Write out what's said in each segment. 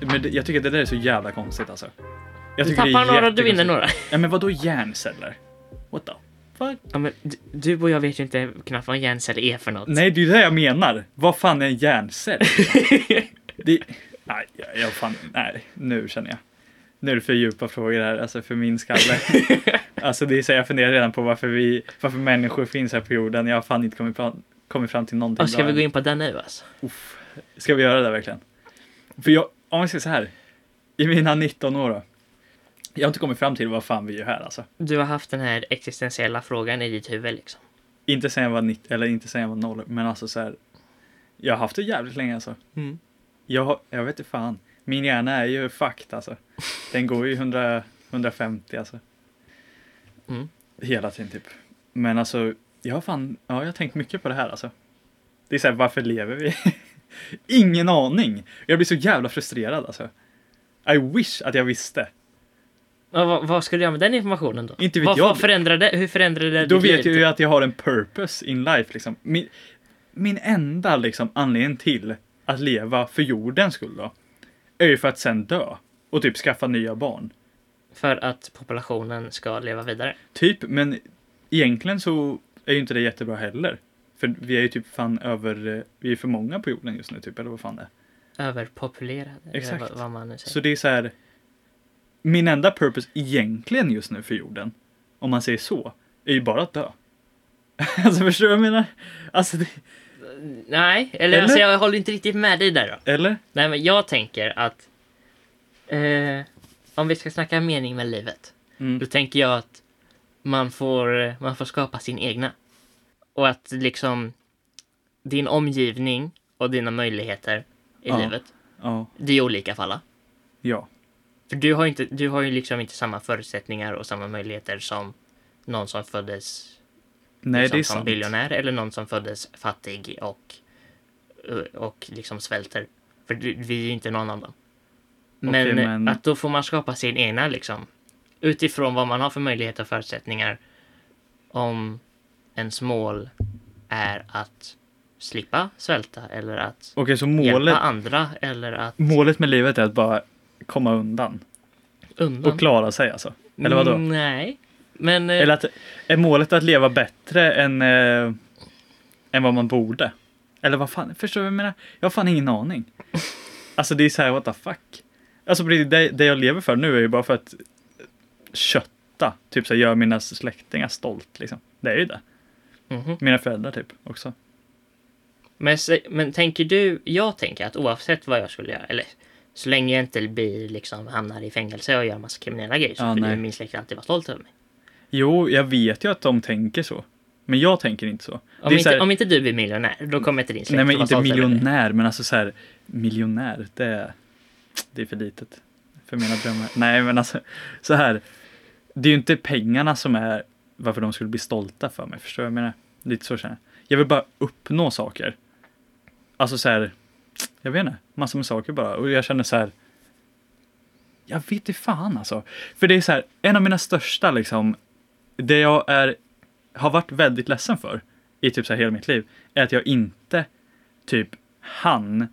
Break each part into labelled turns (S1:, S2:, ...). S1: Men det, jag tycker att det där är så jävla konstigt alltså. Jag
S2: Du
S1: tycker det är
S2: tappar några, du vinner
S1: jättekonstigt.
S2: några.
S1: Ja, men vadå hjärnceller? What the fuck?
S2: Ja, men d- du och jag vet ju inte knappt vad en hjärncell är för något.
S1: Nej, det är ju det jag menar. Vad fan är en hjärncell? det... Nej, jag, jag fan... Nej, nu känner jag. Nu är det för djupa frågor här, alltså för min skalle. alltså det är så jag funderar redan på varför vi, varför människor finns här på jorden. Jag har fan inte kommit fram, kommit fram till någonting.
S2: Och ska
S1: bra
S2: vi
S1: än.
S2: gå in på den nu alltså?
S1: Uff. Ska vi göra det verkligen? För jag, om vi säger så här. I mina 19 år då. Jag har inte kommit fram till vad fan vi gör här alltså.
S2: Du har haft den här existentiella frågan i ditt huvud liksom.
S1: Inte sen jag var 19, eller inte sen jag var 0, men alltså så här. Jag har haft det jävligt länge alltså.
S2: Mm.
S1: Jag, har- jag vet inte fan. Min hjärna är ju fucked alltså. Den går ju 100, 150 alltså.
S2: Mm.
S1: Hela tiden typ. Men alltså, jag har fan, ja jag har tänkt mycket på det här alltså. Det är såhär, varför lever vi? Ingen aning! Jag blir så jävla frustrerad alltså. I wish att jag visste.
S2: Ja, vad, vad ska du göra med den informationen då?
S1: Inte vet
S2: vad,
S1: jag.
S2: Vad förändrade, hur förändrade det
S1: Då
S2: ditt
S1: vet jag
S2: liv? typ
S1: ju att jag har en purpose in life liksom. Min, min enda liksom anledning till att leva för jordens skull då. Är ju för att sen dö. Och typ skaffa nya barn.
S2: För att populationen ska leva vidare.
S1: Typ, men egentligen så är ju inte det jättebra heller. För vi är ju typ fan över, eh, vi är för många på jorden just nu typ, eller vad fan det är.
S2: Överpopulerade. eller
S1: Exakt.
S2: Vad, vad man nu säger.
S1: Så det är så här, min enda purpose egentligen just nu för jorden, om man säger så, är ju bara att dö. Alltså förstår du vad jag menar? Alltså, det,
S2: Nej, eller,
S1: Eller?
S2: Alltså, jag håller inte riktigt med dig där då.
S1: eller?
S2: Nej, men jag tänker att eh, om vi ska snacka mening med livet.
S1: Mm.
S2: Då tänker jag att man får, man får skapa sin egna. Och att liksom din omgivning och dina möjligheter i
S1: Ja.
S2: livet,
S1: Ja,
S2: det är olika för alla.
S1: ja,
S2: För du har, inte, du har ju liksom inte samma förutsättningar och samma möjligheter som någon som föddes
S1: nej
S2: liksom,
S1: det är
S2: som
S1: sant.
S2: biljonär eller någon som föddes fattig och, och liksom svälter. För du- vi är ju inte någon av dem. Men, eh,
S1: Okej, men-
S2: att då får man skapa sin egna liksom. Utifrån vad man har för möjligheter och förutsättningar. Om ens mål är att slippa svälta eller att
S1: Okej, så målet,
S2: hjälpa andra eller att
S1: målet med livet är att bara komma undan
S2: undan.
S1: och klara sig alltså? Eller vadå?
S2: Mm, Nej. Men eh,
S1: Eller att, är målet att leva bättre än, eh, än vad man borde? Eller vad fan, förstår du vad jag menar? Jag har fan ingen aning. Alltså det är så här, what the fuck. Alltså på riktigt, det, det jag lever för nu är ju bara för att kötta, typ så här, göra mina släktingar stolt liksom. Det är ju det.
S2: mhm.
S1: Mina föräldrar typ också.
S2: Men, se- men tänker du, jag tänker att oavsett vad jag skulle göra, eller så länge jag inte blir liksom hamnar i fängelse och gör massa kriminella grejer så
S1: Ja,
S2: kommer
S1: nej.
S2: ju min släkt alltid vara stolt över mig.
S1: Jo, jag vet ju att de tänker så. Men jag tänker inte så.
S2: Om,
S1: det är
S2: inte,
S1: så här,
S2: om inte du blir miljonär, då kommer inte din släkt
S1: nej men
S2: vara
S1: inte
S2: stolt över dig.
S1: miljonär, men alltså så här, miljonär, det är, det är för litet för mina drömmar. Nej, men alltså så här, det är ju inte pengarna som är varför de skulle bli stolta för mig, förstår du vad jag menar? Lite så känner jag. Jag vill bara uppnå saker. Alltså så här, jag vet inte, massor med saker bara. Och jag känner så här, jag vet inte fan alltså. För det är så här, en av mina största liksom, det jag är, har varit väldigt ledsen för i typ så här hela mitt liv, är att jag inte typ hann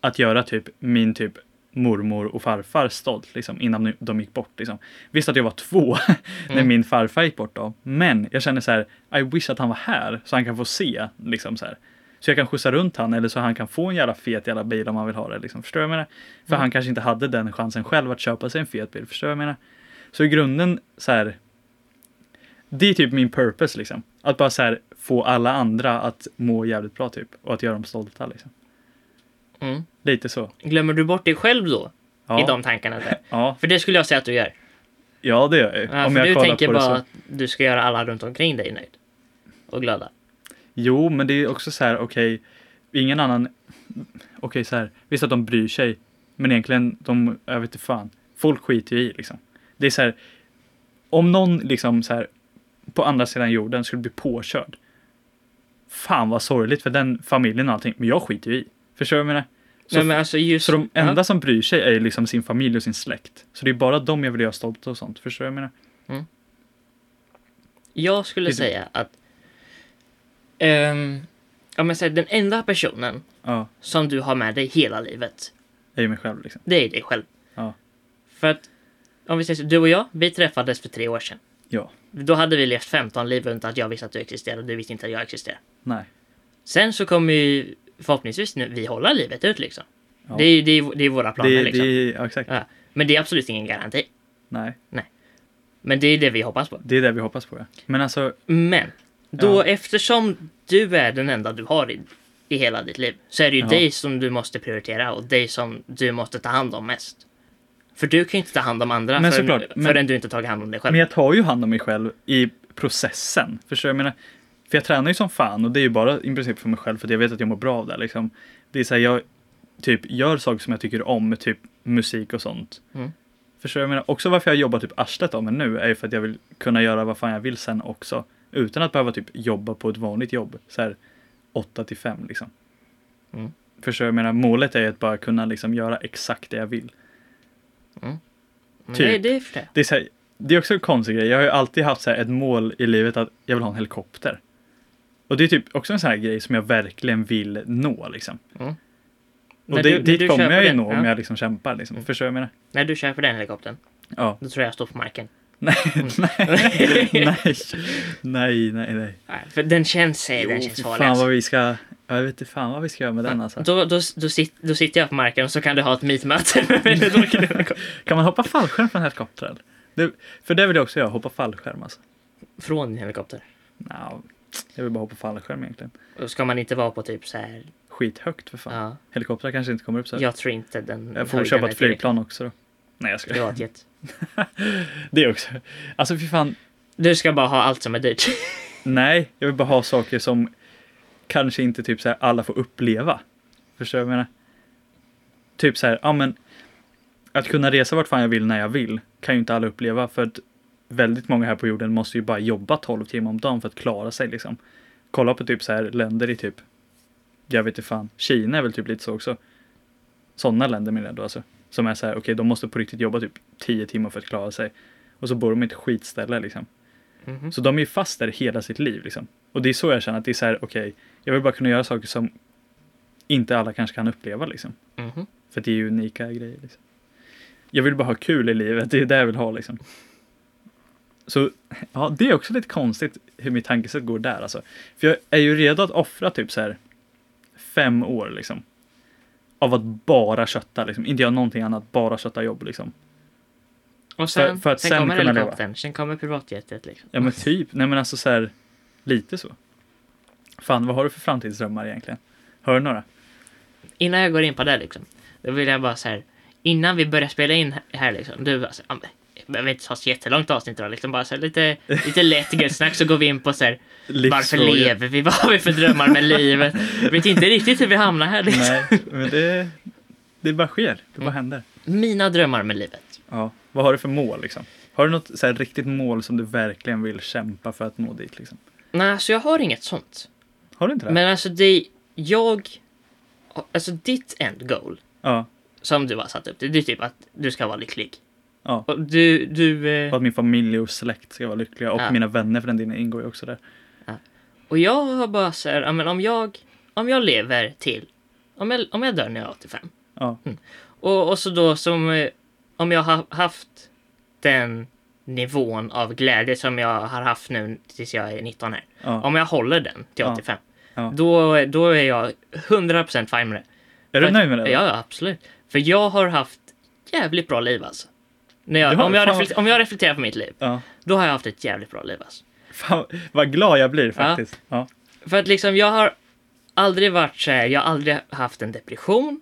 S1: att göra typ min typ mormor och farfar stolt liksom innan de gick bort liksom. Visst att jag var två när
S2: Mm.
S1: min farfar gick bort då, men jag känner så här, I wish att han var här så han kan få se liksom så här. Så jag kan skjutsa runt han eller så han kan få en jävla fet jävla bil om han vill ha det liksom. Förstår du vad jag menar? För han kanske inte hade den chansen själv att köpa sig en fet bil. Förstår du vad jag menar? Så i grunden så här. Det är typ min purpose liksom. Att bara så här få alla andra att må jävligt bra typ. Och att göra dem stolta liksom.
S2: Mm.
S1: Lite så.
S2: Glömmer du bort dig själv då?
S1: Ja,
S2: I de tankarna där?
S1: ja,
S2: För det skulle jag säga att du gör.
S1: ja det gör jag ju.
S2: Ja,
S1: Om
S2: för
S1: jag
S2: du
S1: kollar
S2: tänker
S1: på det
S2: bara
S1: så.
S2: att du ska göra alla runt omkring dig nöjd. Och glada.
S1: Jo, men det är också så här, okej, ingen annan, okej så här, visst att de bryr sig, men egentligen, de, jag vet inte fan, folk skiter ju i liksom. Det är så här, om någon liksom så här, på andra sidan jorden skulle bli påkörd, fan vad sorgligt för den familjen och allting, men jag skiter ju i. Förstår du vad jag menar? Så,
S2: Nej, men alltså just...
S1: så de enda
S2: Ja.
S1: som bryr sig är ju liksom sin familj och sin släkt. Så det är bara dem jag vill göra stolt och sånt, förstår du vad jag menar?
S2: Jag skulle
S1: Det är-
S2: säga att... Um, ja, men säg den enda personen
S1: Ja,
S2: som du har med dig hela livet
S1: är ju mig själv liksom.
S2: Det är dig själv.
S1: Ja.
S2: För att, om vi säger så, du och jag, vi träffades för tre år sedan.
S1: Ja.
S2: Då hade vi levt 15 liv utan att jag visste att du existerade och du visste inte att jag existerade.
S1: Nej.
S2: Sen så kommer ju förhoppningsvis nu vi hålla livet ut liksom.
S1: Ja.
S2: Det, är, ju- det, är, det är våra planer
S1: det,
S2: liksom.
S1: det, ja, exakt.
S2: Ja. Men det är absolut ingen garanti.
S1: Nej.
S2: Men det är det vi hoppas på.
S1: Det är det vi hoppas på. Ja. Men alltså,
S2: Men, då
S1: Ja.
S2: eftersom du är den enda du har i, i hela ditt liv så är det ju
S1: Ja.
S2: dig som du måste prioritera och dig som du måste ta hand om mest. För du kan ju inte ta hand om andra
S1: Men
S2: förrän,
S1: såklart, men-
S2: förrän du inte tagit hand om dig själv.
S1: men jag tar ju hand om mig själv i processen. Förstår du? Jag menar, för jag tränar ju som fan och det är ju bara i princip för mig själv för att jag vet att jag mår bra av det. Liksom. Det är så här, jag typ gör saker som jag tycker om, typ musik och sånt.
S2: Mm.
S1: Förstår du? Jag menar, också varför jag jobbar typ arslet av mig nu är ju för att jag vill kunna göra vad fan jag vill sen också. Utan att behöva typ jobba på ett vanligt jobb. Så här 8 till 5 liksom.
S2: Mm.
S1: Förstår du? Jag menar, målet är ju att bara kunna liksom göra exakt det jag vill. typ.
S2: Men det, det är för det.
S1: Det är, så här, det är också en konstig grej. Jag har ju alltid haft så här ett mål i livet att jag vill ha en helikopter. Och det är typ också en sån här grej som jag verkligen vill nå liksom. Och
S2: När
S1: det,
S2: Mm. du- när du
S1: dit kommer
S2: köper
S1: jag ju
S2: den-
S1: nå om
S2: ja.
S1: jag liksom kämpar liksom.
S2: Mm.
S1: Förstår du vad jag menar?
S2: När du köper den helikoptern,
S1: Ja.
S2: då tror jag jag står på marken.
S1: Nej, nej,
S2: Mm.
S1: nej, nej, nej, nej.
S2: Nej, För den känns, säg, den
S1: fy
S2: känns farlig.
S1: fan
S2: Alltså.
S1: vad vi ska, ja, jag vet inte fan vad vi ska göra med
S2: Mm.
S1: den alltså.
S2: Då, då, då, sit, då sitter jag på marken och så kan du ha ett meetmöte med mig. Då kan du-
S1: Kan man hoppa fallskärm från helikopter? eller? Det, för det vill jag också göra, hoppa fallskärm alltså.
S2: Från din helikopter.
S1: Nå, jag vill bara hoppa fallskärm egentligen.
S2: Och ska man inte vara på typ så här.
S1: Skithögt för fan.
S2: Ja,
S1: Helikoptrar kanske inte kommer upp så här.
S2: jag tror inte den.
S1: Jag får
S2: höjden
S1: köpa
S2: är
S1: ett
S2: tillräcklig.
S1: flygplan också då. Nej jag ska.
S2: Privatjet.
S1: Det också. Alltså fy fan.
S2: Du ska bara ha allt som är dyrt.
S1: Nej, jag vill bara ha saker som kanske inte typ så här alla får uppleva. Förstår du vad jag menar? Typ så här, ja men. Att kunna resa vart fan jag vill när jag vill kan ju inte alla uppleva för att väldigt många här på jorden måste ju bara jobba 12 timmar om dagen för att klara sig liksom. Kolla på typ så här länder i typ, jag vet inte fan, Kina är väl typ lite så också. Sådana länder menar jag då alltså. Som är så här, okej de måste på riktigt jobba typ 10 timmar för att klara sig. Och så bor de i ett skitställe liksom.
S2: Mhm.
S1: Så de är ju fast där hela sitt liv. Liksom. Och det är så jag känner att det är så här, okej, jag vill bara kunna göra saker som inte alla kanske kan uppleva. Liksom.
S2: Mhm.
S1: För det är ju unika grejer. Liksom. Jag vill bara ha kul i livet, det är det jag vill ha. Liksom. Så ja, det är också lite konstigt hur mitt tankesätt går där. Alltså. För jag är ju redo att offra typ så här fem år liksom. Av att bara kötta, liksom. inte göra någonting annat, bara kötta jobb. Liksom.
S2: Och sen,
S1: För- för att
S2: sen,
S1: sen
S2: kommer
S1: kunna leva.
S2: helikoptern, sen kommer privatjetet liksom.
S1: Ja men typ, nej men alltså så här, lite så. Fan, vad har du för framtidsdrömmar egentligen? Har du några?
S2: Innan jag går in på det liksom. Då vill jag bara så här. Innan vi börjar spela in här liksom. Du bara så här, "Ah, men, jag behöver inte ha ett jättelångt avsnitt då. Liksom bara så här, lite, lite lätt gött snack så går vi in på så här. Varför
S1: Livsfrågor?
S2: lever vi? Vad har vi för drömmar med livet? Jag vet inte riktigt hur vi hamnar här liksom.
S1: Nej, men det, det bara sker, det
S2: Mm.
S1: bara händer.
S2: Mina drömmar med livet.
S1: Ja, vad har du för mål liksom? Har du något så här riktigt mål som du verkligen vill kämpa för att nå dit liksom?
S2: Nej, alltså jag har inget sånt.
S1: Har du inte det?
S2: Men alltså det, jag, alltså ditt end goal
S1: Ja,
S2: som du har satt upp, det det är typ att du ska vara lycklig.
S1: ja.
S2: Och du, du, eh,
S1: Och att min familj och släkt ska vara lyckliga och
S2: Ja.
S1: mina vänner för den delen ingår ju också där.
S2: och jag har bara så här, ja, men om jag, om jag lever till, om jag, om jag dör när jag är 85.
S1: Ja,
S2: Och, och så då som, eh, om jag har haft den nivån av glädje som jag har haft nu tills jag är 19 här.
S1: ja.
S2: Om jag håller den till
S1: Ja.
S2: 85.
S1: Ja.
S2: Då, då är jag 100% fine med det.
S1: Är du nöjd med det?
S2: Ja, ja, absolut. För jag har haft jävligt bra liv alltså. När jag,
S1: Du har-
S2: om, jag
S1: fan-
S2: reflekter, om jag reflekterar på mitt liv,
S1: ja.
S2: då har jag haft ett jävligt bra liv alltså.
S1: Fan, vad glad jag blir faktiskt. Ja.
S2: För att liksom jag har aldrig varit så här, jag har aldrig haft en depression.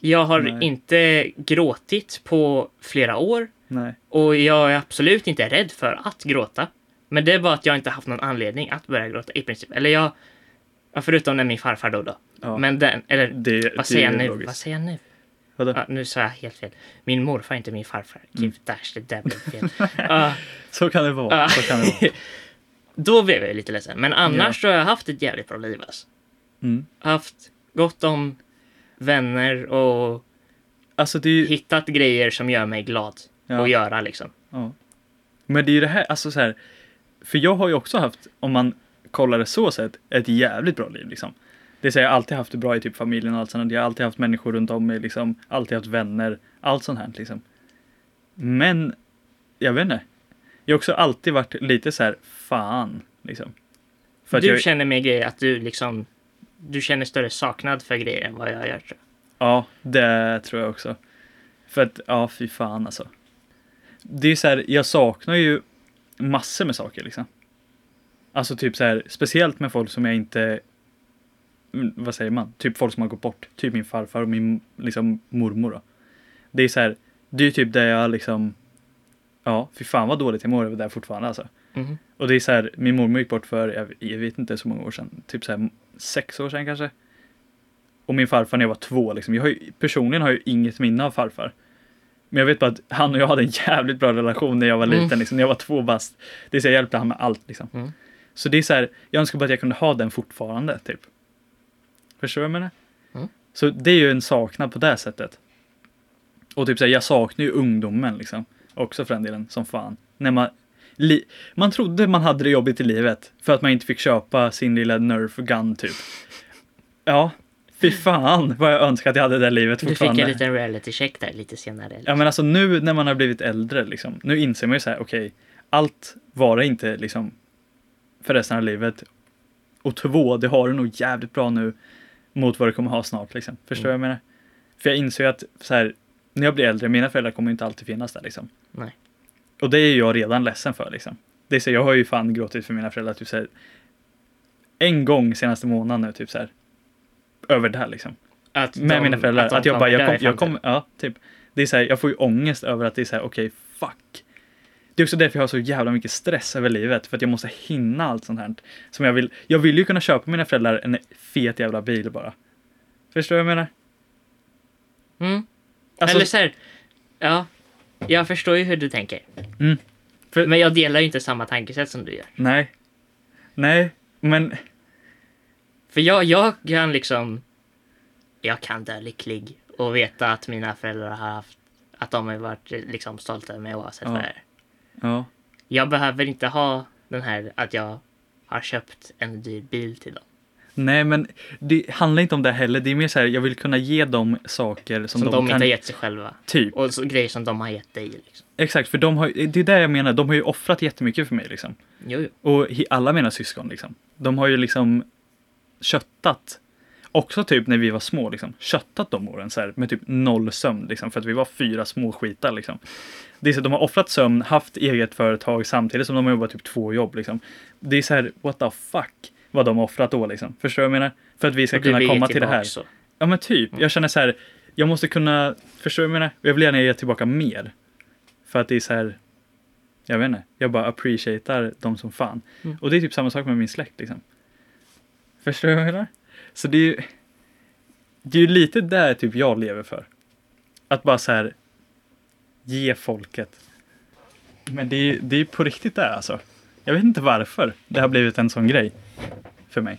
S2: Jag har
S1: Nej.
S2: inte gråtit på flera år.
S1: Nej,
S2: Och jag är absolut inte rädd för att gråta. Men det är bara att jag inte haft någon anledning att börja gråta i princip. Eller jag, ja, förutom när min farfar dog då.
S1: Ja.
S2: Men den, eller
S1: det, det
S2: vad säger
S1: är
S2: jag nu? Vad
S1: logiskt.
S2: säger jag nu?
S1: Vadå?
S2: Ja, nu sa jag helt fel. Min morfar, inte min farfar.
S1: Mm.
S2: Give dash, det där blev fel. Ja,
S1: Så kan det
S2: Ja.
S1: vara. Så kan det vara.
S2: då blev jag ju lite ledsen. Men annars så har jag haft ett jävligt bra liv. Alltså.
S1: Mm.
S2: Haft gott om vänner och
S1: Alltså det är ju,
S2: hittat grejer som gör mig glad
S1: Ja.
S2: att göra liksom.
S1: ja. Men det är ju det här, alltså så här. För jag har ju också haft, om man kollar det så sett, ett jävligt bra liv liksom. Det Det är så jag har alltid haft det bra i typ familjen och allt sånt. Jag har alltid haft människor runt om mig, liksom. Alltid haft vänner. Allt sånt här liksom. Men, jag vet inte. Jag har också alltid varit lite så här, fan, liksom. För att
S2: du
S1: jag,
S2: känner med grejer att du liksom, du känner större saknad för grejer än vad jag gör. tror jag.
S1: Ja, det tror jag också. För att, ja, fy fan alltså. Det är ju så här, jag saknar ju massor med saker liksom. Alltså typ så här, speciellt med folk som jag inte, mm, vad säger man, typ folk som har gått bort. Typ min farfar och min liksom, mormor då. Det är så här, det är ju typ där jag liksom, ja, fy fan vad dåligt jag mår över det här fortfarande alltså.
S2: Mhm.
S1: Och det är så här, min mormor gick bort för, jag, jag vet inte så många år sedan, typ så här, sex år sedan kanske. Och min farfar när jag var två liksom. Jag har ju, personligen har jag ju inget minne av farfar. Men jag vet bara att han och jag hade en jävligt bra relation när jag var
S2: Mm.
S1: liten, liksom. när jag var två bast. Det är så jag hjälpte han med allt liksom.
S2: Mm.
S1: Så det är så här, jag önskar bara att jag kunde ha den fortfarande, typ. Förstår du vad jag menar?
S2: Mm.
S1: Så det är ju en saknad på det sättet. Och typ så här, jag saknar ju ungdomen liksom. Också för den delen, som fan. När man, li, man trodde man hade det jobbigt i livet för att man inte fick köpa sin lilla Nerf gun typ. Ja, fy fan vad jag önskar att jag hade det där livet
S2: Du fick
S1: fortfarande.
S2: en liten reality check där lite senare. liksom. eller?
S1: Ja men alltså nu när man har blivit äldre liksom, nu inser man ju så här, okej, allt var det inte liksom för resten av livet. Och två, det har du nog jävligt bra nu mot vad du kommer ha snart liksom. Förstår du vad jag menar? För jag inser ju att så här, när jag blir äldre, mina föräldrar kommer ju inte alltid finnas där liksom.
S2: Nej.
S1: Och det är ju jag redan ledsen för liksom. Det är så, jag har ju fan gråtit för mina föräldrar typ så här, en gång senaste månaden nu typ så här. Över det här liksom
S2: Att
S1: med
S2: de-
S1: mina föräldrar. Att,
S2: de
S1: jag bara, jag,
S2: kommer
S1: kom,
S2: därifrån
S1: jag kommer, ja, typ. Det är så här, jag får ju ångest över att det är så här, okej, fuck. Det är också därför jag har så jävla mycket stress över livet, för att jag måste hinna allt sånt här. Som jag vill, jag vill ju kunna köpa mina föräldrar en fet jävla bil bara. Förstår du vad jag menar?
S2: till. Mm.
S1: Alltså,
S2: Eller så här, ja, jag förstår ju hur du tänker.
S1: Mm. För-
S2: Men jag delar ju inte samma tankesätt som du gör.
S1: nej. Nej, men
S2: För jag, jag kan liksom... Jag kan dö lycklig och veta att mina föräldrar har haft... Att de har varit eh, liksom stolta över mig oavsett
S1: Ja.
S2: vad jag är.
S1: ja.
S2: Jag behöver inte ha den här att jag har köpt en dyr bil till dem.
S1: Nej, men det handlar inte om det heller. Det är mer så här, jag vill kunna ge dem saker som,
S2: Som, de,
S1: kan...
S2: inte har gett sig själva.
S1: Typ.
S2: Och så, grejer som de har gett dig. Liksom.
S1: Exakt, för de har, det är det jag menar. De har ju offrat jättemycket för mig liksom.
S2: Jo, jo.
S1: Och he- alla mina syskon liksom. De har ju liksom köttat. Också typ när vi var små liksom. Köttat de åren så här med typ noll sömn liksom. För att vi var fyra små skitar liksom. Det är så att de har offrat sömn, haft eget företag samtidigt som de har jobbat typ två jobb liksom. Det är så här, what the fuck vad de har offrat då liksom. Förstår du vad jag menar? För att vi ska
S2: Och du vill
S1: kunna
S2: ge
S1: komma till det
S2: tillbaka
S1: här.
S2: Så.
S1: Ja men typ,
S2: Mm.
S1: jag känner så här, jag måste kunna, förstår du vad jag menar? Jag vill gärna ge tillbaka mer. För att det är så här, jag vet inte, jag bara appreciatar dem som fan.
S2: Mm.
S1: Och det är typ samma sak med min släkt liksom. Förstår du vad jag menar? Så det är ju, det är ju lite där typ jag lever för. Att bara så här, ge folket. Men det är ju det är ju på riktigt det här, alltså. Jag vet inte varför det har blivit en sån grej för mig.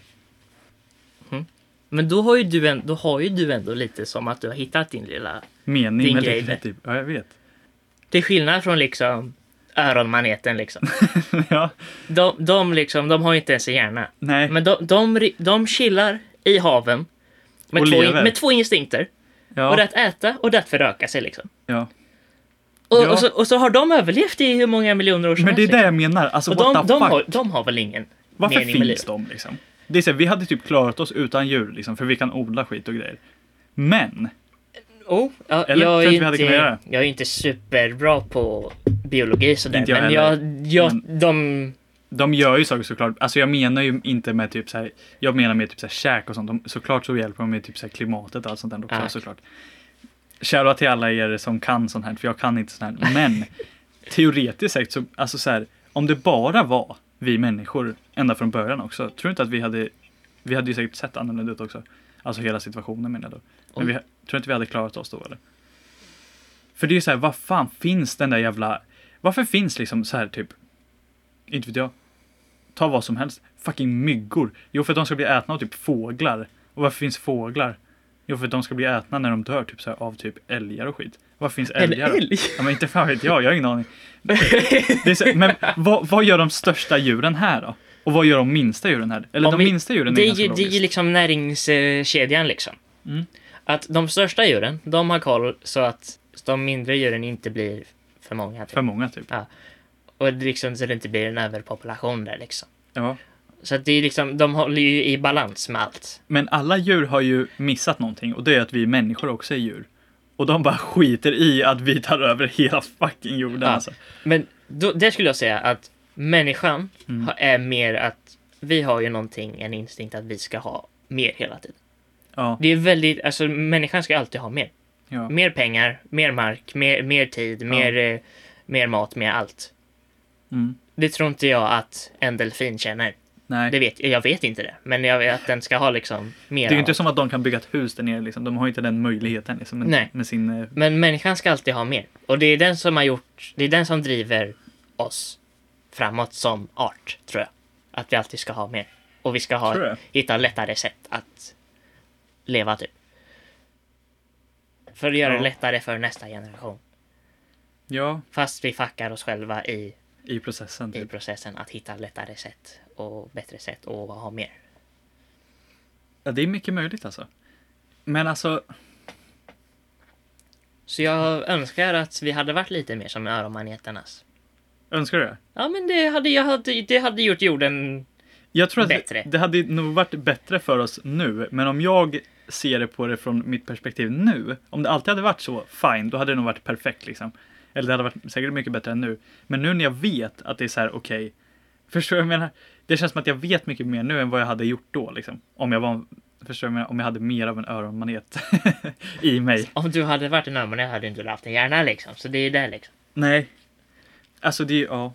S2: Men då har, ju du en, då har ju du ändå lite som att du har hittat din lilla...
S1: Mening
S2: Din
S1: med
S2: grej,
S1: livet, typ. Ja, jag vet.
S2: Till skillnad från liksom öronmaneten liksom.
S1: ja,
S2: De, de liksom, de har ju inte ens en hjärna.
S1: nej.
S2: Men de, de, ri- de chillar i haven med,
S1: Och
S2: två, in,
S1: lever.
S2: med två instinkter.
S1: Ja,
S2: Och det är att äta och det är att föröka sig liksom.
S1: ja.
S2: Och,
S1: Ja.
S2: och, så, och så har de överlevt i hur många miljoner år som
S1: Men det är
S2: helst. liksom.
S1: det jag menar. Alltså,
S2: Och
S1: what
S2: de,
S1: the
S2: de,
S1: fuck?
S2: har, de har väl ingen
S1: Varför
S2: mening med
S1: finns de
S2: livet?
S1: liksom? Det är så här, vi hade typ klarat oss utan djur, liksom, för vi kan odla skit och grejer. Men,
S2: Oh, ja,
S1: Eller?
S2: jag,
S1: Tror
S2: är
S1: inte vi hade
S2: inte,
S1: kunnat göra
S2: jag är inte superbra på biologi sådär.
S1: Inte jag
S2: men
S1: heller.
S2: jag, jag, de...
S1: de gör ju saker såklart. Alltså jag menar ju inte med typ så här, jag menar med typ så här käk och sånt. De, såklart så hjälper de med typ så här klimatet och allt sånt där också
S2: Ah.
S1: såklart. Shoutout till alla er som kan sånt här, för jag kan inte sånt här. Men teoretiskt sett, så, alltså så här, om det bara var vi människor ända från början också, tror du inte att vi hade, vi hade ju säkert sett annorlunda ut också. Alltså hela situationen menar jag då. Men vi,
S2: Oj.
S1: tror du inte vi hade klarat oss då eller? För det är ju så här, vad fan finns den där jävla, varför finns liksom så här typ, inte vet jag, ta vad som helst, fucking myggor. Jo för att de ska bli ätna av typ fåglar. Och varför finns fåglar? Jo för att de ska bli ätna när de dör typ så här, av typ älgar och skit. Varför finns
S2: En
S1: älgar? då?
S2: älg?
S1: Ja, men inte fan vet jag, jag har ingen aning. Det är så, men vad, vad gör de största djuren här då? Och vad gör de minsta djuren här? Eller
S2: Om
S1: de
S2: vi-
S1: minsta djuren
S2: det,
S1: är
S2: är
S1: ganska
S2: ju, det är ju
S1: logiskt.
S2: liksom näringskedjan liksom.
S1: Mm.
S2: Att de största djuren, de har koll så att de mindre djuren inte blir för många. Typ.
S1: För många typ.
S2: Och det liksom, så det inte blir en överpopulation där liksom.
S1: Ja.
S2: Så att det är liksom, de håller ju i balans med allt.
S1: Men alla djur har ju missat någonting och det är att vi människor också är djur. Och de bara skiter i att vi tar över hela fucking jorden
S2: Ja.
S1: alltså.
S2: Men då, det skulle jag säga att människan
S1: Mm.
S2: har, är mer att vi har ju någonting, en instinkt att vi ska ha mer hela tiden.
S1: Ja,
S2: Det är väldigt, alltså människan ska alltid ha mer.
S1: ja.
S2: Mer pengar, mer mark, mer, mer tid, mer, eh, mer mat, mer allt.
S1: Mm.
S2: Det tror inte jag att en delfin känner.
S1: Nej.
S2: Det vet, jag vet inte det, men jag vet att den ska ha liksom mer.
S1: Det är ju inte
S2: av-
S1: som att de kan bygga ett hus där nere liksom. De har ju inte den möjligheten liksom. Med,
S2: Nej.
S1: med sin... eh,
S2: Men människan ska alltid ha mer. Och det är den som har gjort, det är den som driver oss framåt som art, tror jag. Att vi alltid ska ha mer. Och vi ska
S1: Tror
S2: ha,
S1: jag.
S2: hitta lättare sätt att leva typ. För att göra
S1: Ja.
S2: det lättare för nästa generation.
S1: Ja,
S2: Fast vi fuckar oss själva i,
S1: i processen
S2: i
S1: typ.
S2: processen att hitta lättare sätt och bättre sätt och ha mer.
S1: Ja, det är mycket möjligt alltså. Men alltså,
S2: Så jag önskar att vi hade varit lite mer som öronmaneternas.
S1: önskar du det?
S2: Ja men det hade, jag hade, det hade gjort jorden...
S1: Jag tror att
S2: Bättre.
S1: det hade nog varit bättre för oss nu, men om jag ser det på det från mitt perspektiv nu, om det alltid hade varit så, fine, då hade det nog varit perfekt liksom. Eller det hade varit säkert mycket bättre än nu. Men nu när jag vet att det är så här, okej, förstår du vad jag menar? Det känns som att jag vet mycket mer nu än vad jag hade gjort då liksom. Om jag var, en- förstår du vad jag menar? Om jag hade mer av en öronmanet i mig.
S2: Om du hade varit en öronmanet hade du inte haft en hjärna liksom. Så det är det liksom.
S1: Nej. Alltså det är ja.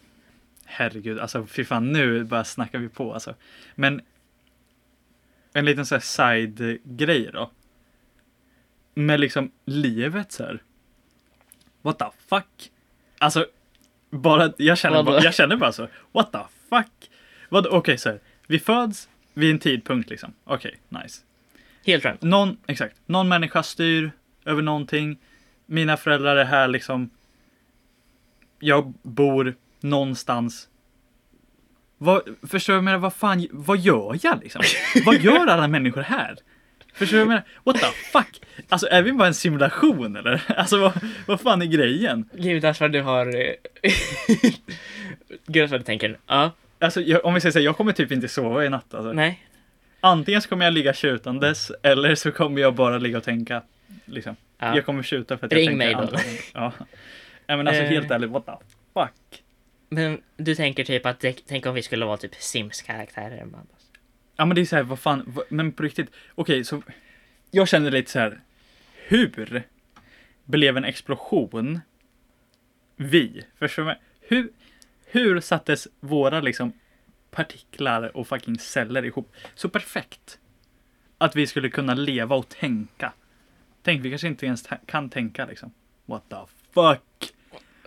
S1: Herregud, alltså fy fan nu bara snackar vi på alltså. Men en liten så här side-grej då. Med liksom livet så här. What the fuck? Alltså, bara, jag, känner
S2: Vadå?
S1: bara, jag känner bara så. What the fuck? Vad, okej så här. Vi föds vid en tidpunkt liksom. Okej, nice
S2: Helt random.
S1: någon, exakt, någon människa styr över någonting. Mina föräldrar är här liksom. Jag bor någonstans. Vad, förstår du vad jag menar? Vad fan, vad gör jag liksom? Vad gör alla människor här? Förstår du vad jag menar? What the fuck? Alltså är vi bara en simulation eller? Alltså vad, vad fan är grejen?
S2: Gudars vad du har... eh, Gudars vad du tänker. Ja,
S1: Alltså jag, om vi säger så här, jag kommer typ inte sova i natt alltså.
S2: nej.
S1: Antingen så kommer jag ligga tjutandes eller så kommer jag bara ligga och tänka. Liksom.
S2: Ja.
S1: Jag kommer skjuta för att
S2: Ring
S1: jag
S2: mig
S1: tänker
S2: då.
S1: antagligen. Ja. Nej men alltså
S2: Eh.
S1: helt ärligt, what the fuck?
S2: Men du tänker typ att det- tänk om vi skulle vara typ Sims-karaktärer. man.
S1: Ja men det är så här, vad fan, vad, men på riktigt. Okej, så jag känner lite så här. Hur blev en explosion vi? Förstår du? vad jag- Hur, hur sattes våra liksom partiklar och fucking celler ihop så perfekt? Att vi skulle kunna leva och tänka. Tänk, vi kanske inte ens ta- kan tänka liksom. What the fuck?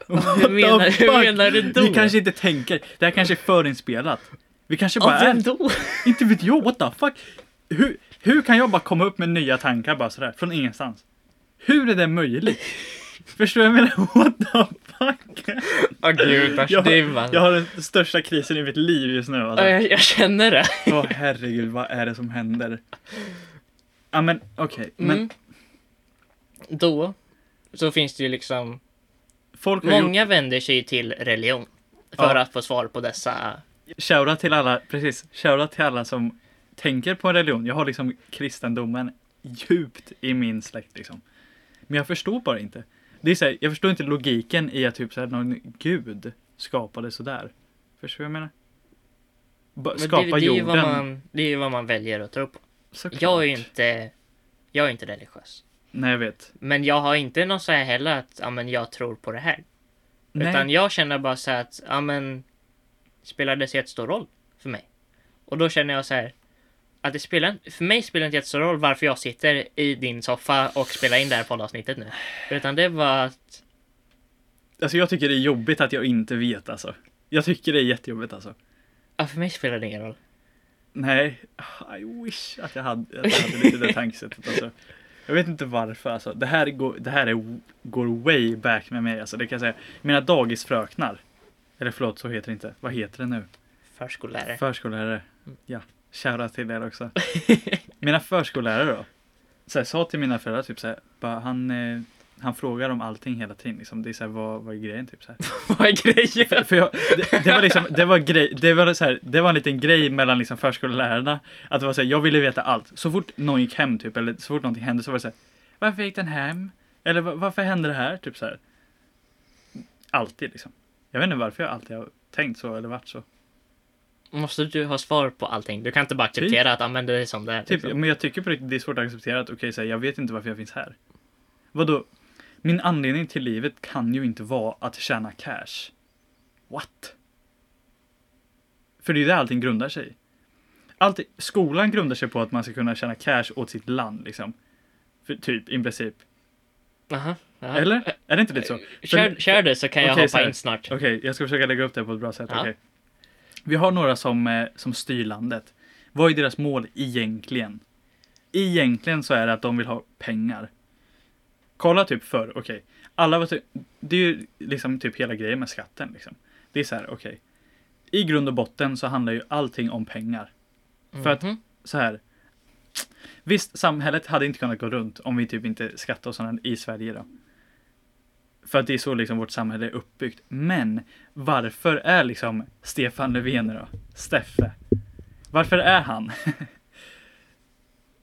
S1: What
S2: Hur menar- hur menar du då?
S1: Vi kanske inte tänker. Det här kanske är förinspelat. Vi kanske bara
S2: Av
S1: är
S2: vem då?
S1: inte vet jag, what the fuck? Hur, hur kan jag bara komma upp med nya tankar bara sådär, från ingenstans? Hur är det möjligt? Förstår du vad jag menar? What the fuck?
S2: Åh gudars
S1: Jag,
S2: dimma.
S1: jag har den största krisen i mitt liv just nu
S2: Ja,
S1: alltså.
S2: Jag, jag känner det.
S1: Åh herregud, vad är det som händer? Ja men okej, men
S2: Mm. Då så finns det ju liksom
S1: folk har gjort...
S2: Många vänder sig till religion för
S1: Ja.
S2: att få svar på dessa.
S1: Shoutout till alla, precis, shoutout till alla som tänker på en religion. Jag har liksom kristendomen djupt i min släkt liksom. Men jag förstår bara inte. Det är så här, jag förstår inte logiken i att typ så här, någon gud skapade sådär. Förstår du vad jag menar? Ba,
S2: Men
S1: skapa
S2: det, det är ju
S1: jorden.
S2: vad man, det är ju vad man väljer att tro på.
S1: såklart.
S2: Jag är ju inte, jag är inte religiös.
S1: Nej, jag vet.
S2: Men jag har inte någon så här heller att, ja men jag tror på det här.
S1: Nej.
S2: Utan jag känner bara så här att, ja men spelar det så jättestor roll för mig? Och då känner jag så här att det spelar, för mig spelar det inte jättestor roll varför jag sitter i din soffa och spelar in det här poddavsnittet nu. Utan det var att,
S1: Alltså jag tycker det är jobbigt att jag inte vet alltså. Jag tycker det är jättejobbigt alltså.
S2: ja för mig spelar det ingen roll.
S1: Nej, Ah, I wish att jag hade, att jag hade lite det tankesättet alltså. Jag vet inte varför alltså. Det här, går, det här är, går way back med mig alltså. Det kan jag säga. Mina dagisfröknar. Eller förlåt, så heter det inte. Vad heter det nu?
S2: Förskollärare.
S1: Förskollärare. Ja, shoutout till er också. Mina förskollärare då. Så här, sa till mina föräldrar typ så här, bara, han, eh, han frågar om allting hela tiden. Liksom. Det är så här, vad, vad är grejen? Typ, så här.
S2: Vad är grejen?
S1: För jag, det, det var liksom, det var grej, det var så här, det var en liten grej mellan liksom förskollärarna. Att det var så här, jag ville veta allt. Så fort någon gick hem typ, eller så fort någonting hände så var det så här, varför gick den hem? Eller "Va- varför hände det här? Typ så här. Alltid liksom. Jag vet inte varför jag alltid har tänkt så eller varit så.
S2: Måste du ha svar på allting? Du kan inte bara acceptera att använda det som det är.
S1: Typ,
S2: liksom.
S1: men jag tycker på riktigt det är svårt att acceptera att okej, så här, jag vet inte varför jag finns här. Vadå? Min anledning till livet kan ju inte vara att tjäna cash. What? För det är ju det allting grundar sig i. Allt, skolan grundar sig på att man ska kunna tjäna cash åt sitt land liksom. För, typ, i princip.
S2: Aha, aha.
S1: Eller? Är det inte lite så?
S2: Kör, kör du så kan jag
S1: Okej, så
S2: hoppa
S1: här.
S2: in snart.
S1: Okej, jag ska försöka lägga upp det på ett bra sätt.
S2: Ja.
S1: Okej. Vi har några som, eh, som styr landet. Vad är deras mål egentligen? Egentligen så är det att de vill ha pengar. Kolla typ förr, okej. Alla var typ, det är ju liksom typ hela grejen med skatten liksom. Det är så här, okej. I grund och botten så handlar ju allting om pengar. För att
S2: Mhm.
S1: så här. Visst, samhället hade inte kunnat gå runt om vi typ inte skattade och sådana i Sverige då. För att det är så liksom vårt samhälle är uppbyggt. Men varför är liksom Stefan Löfven då? Steffe. Varför är han?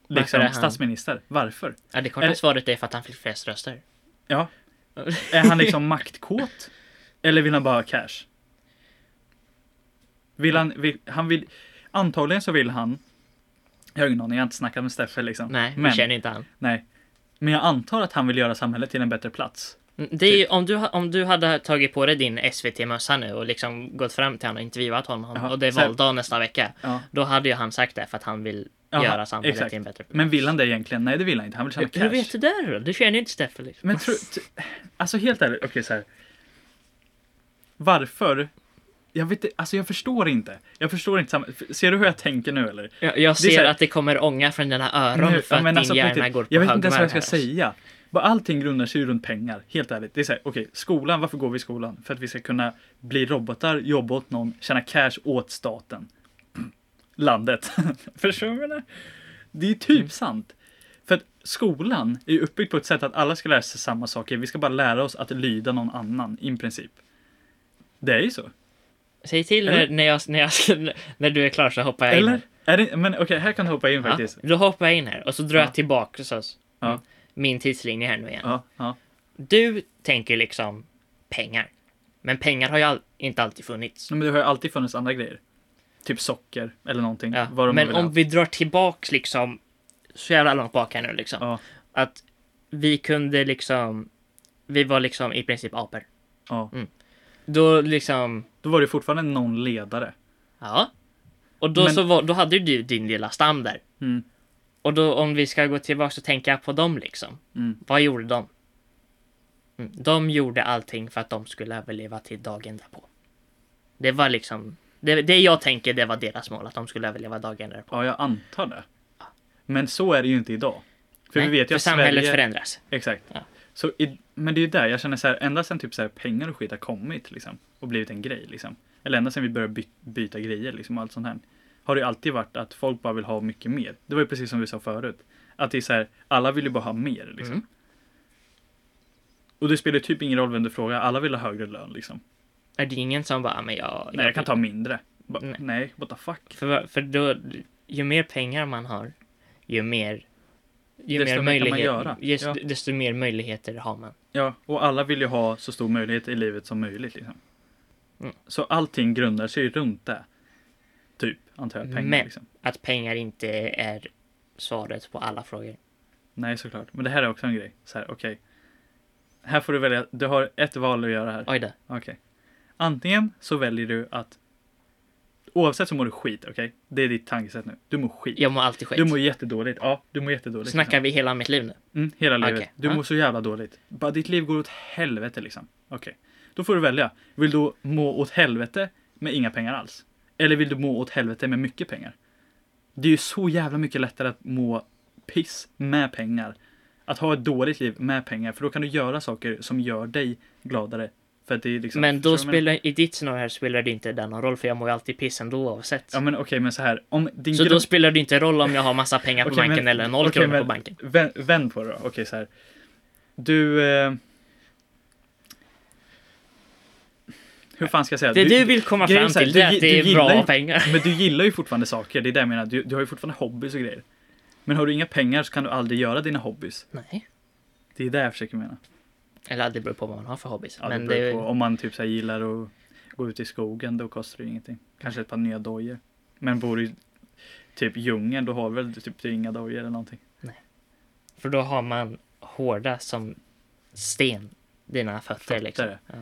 S1: liksom
S2: är han?
S1: statsminister. Varför?
S2: Ja, det korta
S1: Eller-
S2: svaret är för att han fick flest röster.
S1: Ja. Är han liksom maktkåt? Eller vill han bara ha cash? Vill han, vill, han vill, antagligen så vill han, jag har ingen aning, jag har inte snackat med Steffe liksom.
S2: Nej, vi
S1: men,
S2: känner inte han.
S1: nej. Men jag antar att han vill göra samhället till en bättre plats.
S2: Mm, Det
S1: Typ.
S2: är ju, om, du, ha- om du hade tagit på dig din SVT-mössa nu och liksom gått fram till honom och intervjuat honom
S1: Jaha,
S2: och det är
S1: så här-
S2: valdag nästa vecka.
S1: Ja.
S2: Då hade ju han sagt det för att han vill
S1: Jaha,
S2: göra samhället
S1: exakt.
S2: till en bättre plats.
S1: Men vill han det egentligen? Nej, det vill han inte. Han vill tjäna
S2: Hur,
S1: cash.
S2: hur vet du det då? Du känner ju inte Steffe liksom.
S1: Men tro, t- alltså helt ärligt, okej så här. Varför? Jag vet inte- alltså jag förstår inte. Jag förstår inte samma, ser du hur jag tänker nu eller?
S2: Jag, jag
S1: så
S2: ser
S1: här-
S2: att det kommer ånga från dina öron
S1: Nu,
S2: för
S1: ja,
S2: att
S1: men
S2: din
S1: alltså på
S2: hjärna
S1: riktigt,
S2: går på
S1: Jag vet inte ens vad jag
S2: högvarv
S1: ska
S2: här, alltså.
S1: säga. Bara allting grundar sig ju runt pengar, helt ärligt. Det är så här, okej, skolan, varför går vi i skolan? För att vi ska kunna bli robotar, jobba åt någon, tjäna cash åt staten. Landet. Förstår du vad jag menar? Det är
S2: Mm.
S1: typ sant. För att skolan är ju uppbyggd på ett sätt att alla ska lära sig samma saker. Vi ska bara lära oss att lyda någon annan, i princip. Det är ju så.
S2: Säg till
S1: Eller?
S2: när, när, jag, när, jag, när du är klar så hoppar jag in.
S1: Eller? Är
S2: här.
S1: det, men okej, här kan du hoppa in
S2: Ja,
S1: faktiskt.
S2: då hoppar jag in här och så drar
S1: Ja.
S2: jag tillbaka så,
S1: Ja.
S2: mm, min tidslinje här nu igen.
S1: Ja, ja.
S2: Du tänker liksom pengar. Men pengar har ju all, inte alltid funnits.
S1: Nej, Men det har ju alltid funnits andra grejer. Typ socker eller någonting.
S2: Ja.
S1: Mm. Vad de
S2: Men
S1: vill
S2: om
S1: ha.
S2: vi drar tillbaks liksom så jävla långt bak här nu liksom.
S1: Ja.
S2: Att vi kunde liksom, vi var liksom i princip apor.
S1: Ja.
S2: Då liksom,
S1: Då var det fortfarande någon ledare.
S2: ja. Och då,
S1: Men-
S2: så var, då hade ju du din lilla stam där.
S1: Mm.
S2: Och då om vi ska gå tillbaks och tänka på dem liksom.
S1: Mm.
S2: Vad gjorde de? Mm. De gjorde allting för att de skulle överleva till dagen därpå. Det var liksom, det, det jag tänker det var deras mål, att de skulle överleva dagen därpå.
S1: Ja, jag antar det. Men så är det ju inte idag. För
S2: Nej,
S1: vi vet ju
S2: för
S1: att
S2: samhället
S1: Sverige...
S2: förändras.
S1: Exakt.
S2: Ja.
S1: Så i... Men det är ju där jag känner så här, ända sen typ så här pengar och skit har kommit liksom. Och blivit en grej liksom. Eller ända sen vi började by- byta grejer liksom och allt sånt här. Har det ju alltid varit att folk bara vill ha mycket mer. Det var ju precis som vi sa förut. Att det är så här, alla vill ju bara ha mer liksom.
S2: Mm.
S1: Och det spelar ju typ ingen roll vem du frågar, alla vill ha högre lön liksom.
S2: Är det ingen som bara, "Ah, men jag...
S1: Nej, jag kan ta mindre. Ba,
S2: Nej.
S1: nej. what the fuck.
S2: För, för då, ju mer pengar man har, ju mer... Ju
S1: Desto mer
S2: mer
S1: kan man göra.
S2: möjligheter, just,
S1: Ja.
S2: desto mer möjligheter har man.
S1: Ja, och alla vill ju ha så stor möjlighet i livet som möjligt. Liksom.
S2: Mm.
S1: Så allting grundar sig runt det. Typ, antar jag. Pengar
S2: Men-
S1: liksom.
S2: Att pengar inte är svaret på alla frågor.
S1: Nej, såklart. Men det här är också en grej. Så här, okej. Här får du välja. Du har ett val att göra här.
S2: Oj då.
S1: Okej. Antingen så väljer du att Oavsett så mår du skit, okej? Det är ditt tankesätt nu. Du mår skit.
S2: Jag mår alltid skit.
S1: Du mår jättedåligt. Ja, du mår jättedåligt.
S2: Snackar vi hela mitt liv nu?
S1: Mm, hela livet.
S2: Okej,
S1: Du
S2: ja.
S1: mår så jävla dåligt. Bara ditt liv går åt helvete liksom. Okej. Då får du välja. Vill du må åt helvete med inga pengar alls? Eller vill du må åt helvete med mycket pengar? Det är ju så jävla mycket lättare att må piss med pengar. Att ha ett dåligt liv med pengar. För då kan du göra saker som gör dig gladare För att det är liksom,
S2: Men
S1: förstår du
S2: då
S1: vad jag menar?
S2: spelar, i ditt scenario här spelar det inte den någon roll för jag mår ju alltid piss ändå oavsett.
S1: Ja men okej men så här. Om din
S2: så
S1: grund-
S2: då spelar det inte roll om jag har massa pengar på
S1: Okej,
S2: banken
S1: men-
S2: eller noll
S1: okej,
S2: kronor
S1: men
S2: på banken.
S1: vä- Vänd på det då. Okej så här. Du... Eh... Hur fan ska jag säga?
S2: Det du vill komma
S1: grejen är
S2: fram
S1: så här,
S2: till
S1: du
S2: det är
S1: gi-
S2: att
S1: du
S2: det är
S1: gillar
S2: bra
S1: ju-
S2: pengar.
S1: Men du gillar ju fortfarande saker, det är det jag menar. Du, du har ju fortfarande hobbies och grejer. Men har du inga pengar så kan du aldrig göra dina hobbies.
S2: Nej.
S1: Det är det jag försöker mena.
S2: Eller det beror på vad man har för hobbys.
S1: Ja,
S2: men
S1: det beror
S2: det,
S1: på, om man typ så här gillar att gå ut i skogen, då kostar det ju ingenting. Kanske ett par nya dojor. Men bor du i typ djungeln, då har du väl typ inga dojor eller någonting.
S2: för då har man hårda som sten, dina fötter.
S1: Fötter.
S2: Liksom. Ja.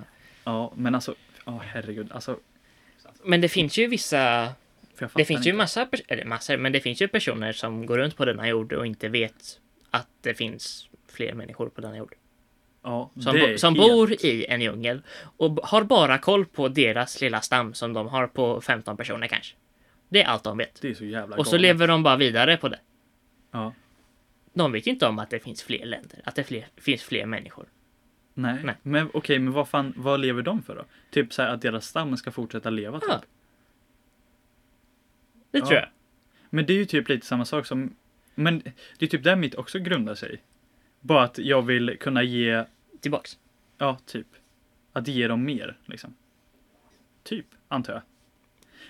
S1: Ja, men alltså, ja herregud. Alltså,
S2: Men det finns ju vissa
S1: för jag fattar
S2: Det finns ju
S1: inte.
S2: massa, pers- eller massor, men det finns ju personer som går runt på denna jord och inte vet att det finns fler människor på denna jord.
S1: ja,
S2: Som,
S1: det
S2: bo,
S1: är
S2: som
S1: helt-
S2: bor i en djungel och b- har bara koll på deras lilla stam som de har på 15 personer kanske. Det är allt de vet.
S1: Det är så jävla
S2: Och så
S1: galet.
S2: lever de bara vidare på det.
S1: Ja.
S2: De vet ju inte om att det finns fler länder, att det fler, finns fler människor.
S1: Nej.
S2: Nej.
S1: men okej, men vad fan, vad lever de för då? Typ så här att deras stam ska fortsätta leva typ.
S2: Ja. Det
S1: Ja.
S2: tror jag.
S1: Men det är ju typ lite samma sak som, men det är typ där mitt också grundar sig. Bara att jag vill kunna ge,
S2: Tillbaks.
S1: ja typ, att ge dem mer liksom. Typ, antar jag.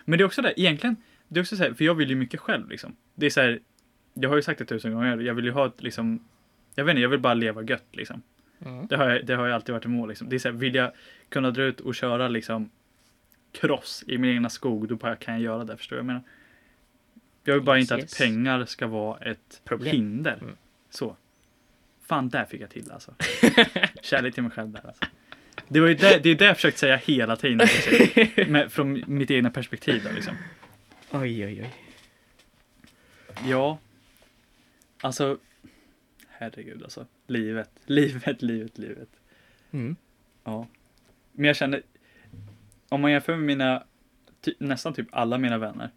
S1: Men det är också det, egentligen, det är också så här, för jag vill ju mycket själv liksom. Det är så här, jag har ju sagt det tusen gånger, jag vill ju ha ett liksom, jag vet inte, jag vill bara leva gött liksom.
S2: Mm.
S1: Det har, jag, det har jag alltid varit emot. Liksom. Det är så här, vill jag kunna dra ut och köra liksom cross i min egna skog, då bara kan jag göra det. Förstår du vad jag menar? Jag vill bara
S2: Yes,
S1: inte
S2: yes.
S1: att pengar ska vara ett
S2: Problem.
S1: hinder.
S2: Mm.
S1: Så. Fan, där fick jag till alltså. Kärlek till mig själv där alltså. Det var ju det, det, är det jag försökt säga hela tiden. i och för sig. Men från mitt egna perspektiv då liksom.
S2: Oj, oj, oj.
S1: Ja. Alltså. Herregud alltså. Livet, livet, livet, livet.
S2: Mm.
S1: Ja. Men jag känner, om man jämför med mina, ty, nästan typ alla mina vänner.